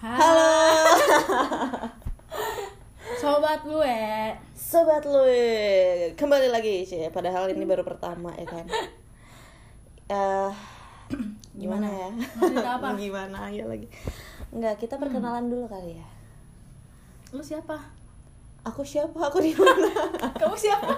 Halo sobat eh. gue. sobat lu kembali lagi cie padahal ini baru pertama ya kan Eh, gimana ya Mau cerita apa? Hmm. gimana ya lagi nggak kita perkenalan dulu kali ya Lu siapa? aku siapa aku di mana Kamu siapa?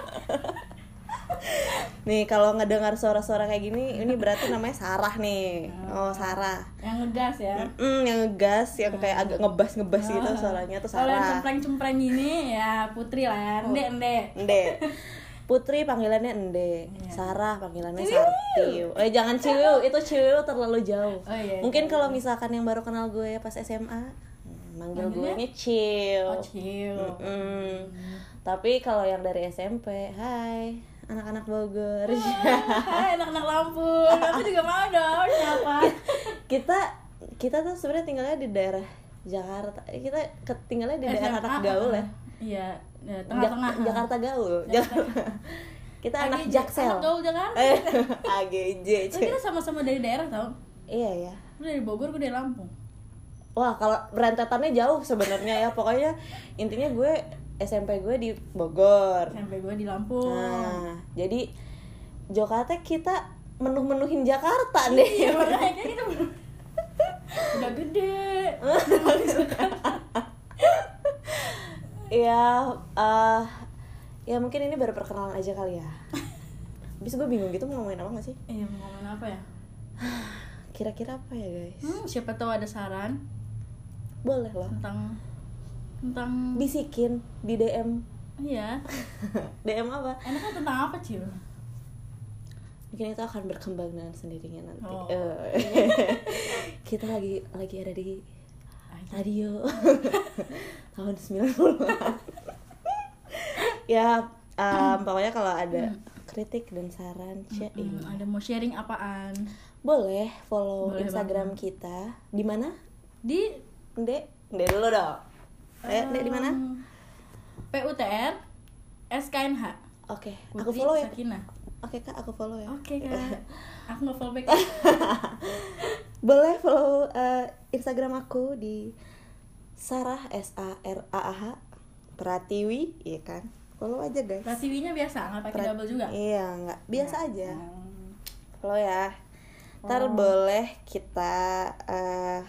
nih kalau ngedengar suara-suara kayak gini ini berarti namanya Sarah nih Ah. oh Sarah Yang ngegas ya. Mm, yang ngegas yang kayak agak ngebas ngebas gitu suaranya tuh Ah. Oh. Kalau yang Sarah cempreng-cempreng gini ya Putri lah, Ende Ende. Ende Putri panggilannya Ende, Iya. Sarah panggilannya Sartiu. Eh jangan Ciu, itu Ciu terlalu jauh. Oh, iya, Mungkin kalau misalkan yang baru kenal gue pas SMA, hmm, manggil gue nya Ciu. Oh, Hmm. chill. Mm. Tapi kalau yang dari SMP, hai anak-anak Bogor. Hai anak-anak Lampung, aku juga mau dong. Siapa? kita kita tuh sebenarnya tinggalnya di daerah Jakarta. Eh, Kita ke- tinggalnya di daerah SMA. anak gaul ya. Iya, ya, Eh, Jak- tengah-tengah. Jakarta gaul. Jakarta. kita Lagi anak di- Jaksel. Anak gaul Jakarta. Eh, AGJ. Tapi kita sama-sama dari daerah tau. Iya ya. Lu dari Bogor, gue dari Lampung. Wah, kalau berentetannya jauh sebenarnya ya. Pokoknya intinya gue SMP gue di Bogor. Sampai gue di Lampung. Nah, jadi Jakarta kita menuh-menuhin Jakarta deh. Iya, makanya kayak gitu. Udah gede. ya, eh ya mungkin ini baru perkenalan aja kali ya. Habis gue bingung gitu mau ngomongin apa gak sih? Iya, mau ngomongin apa ya? Kira-kira apa ya guys? Hmm, siapa tahu ada saran Boleh loh. tentang tentang Bisikin di DM. iya DM apa? enaknya tentang apa cil mungkin itu akan berkembang dengan sendirinya nanti Oh. Eh, kita lagi lagi ada di radio tahun 90-an ya em, pokoknya kalau ada kritik dan saran cek Hmm, ada mau sharing apaan boleh follow Boleh instagram kita di mana di Nde Nde dulu dong eh Nde di mana em, PUTR SKNH oke aku Putri follow ya Sakinah. oke kak aku follow ya oke kak aku nggak follow back boleh follow eh, Instagram aku di Sarah S A R A A H Pratiwi, iya kan? Follow aja guys. Pratiwinya biasa nggak pakai Prat- double juga Iya, nggak biasa aja. Hmm. Follow ya. Ntar Oh. boleh kita eh,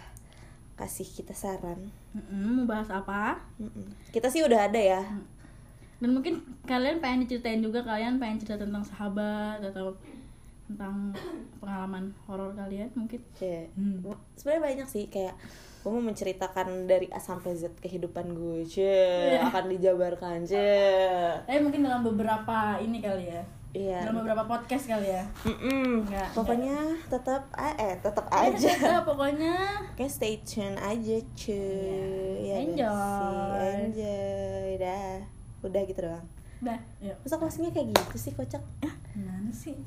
kasih kita saran. Mm-mm, mau bahas apa Mm-mm. Kita sih udah ada ya. Hmm. dan mungkin kalian pengen diceritain juga kalian pengen cerita tentang sahabat atau tentang pengalaman horor kalian mungkin Iya. Hmm. Sebenarnya banyak sih kayak gue mau menceritakan dari A sampai Z kehidupan gue, cie, Iya. akan dijabarkan, cie. Eh mungkin dalam beberapa ini kali ya. Iya. Dalam beberapa podcast kali ya. Mm-mm. Nggak, Pokoknya tetap a- eh tetap aja. Udah, pokoknya Oke, stay tune aja, cuy. Ya, Enjoy. nggak sih? Enjoy. Dah. Udah gitu doang. udah. Yuk. Masa closingnya kayak gitu sih, kocak? Gimana sih?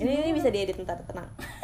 Ini, ini bisa diedit ntar, tenang.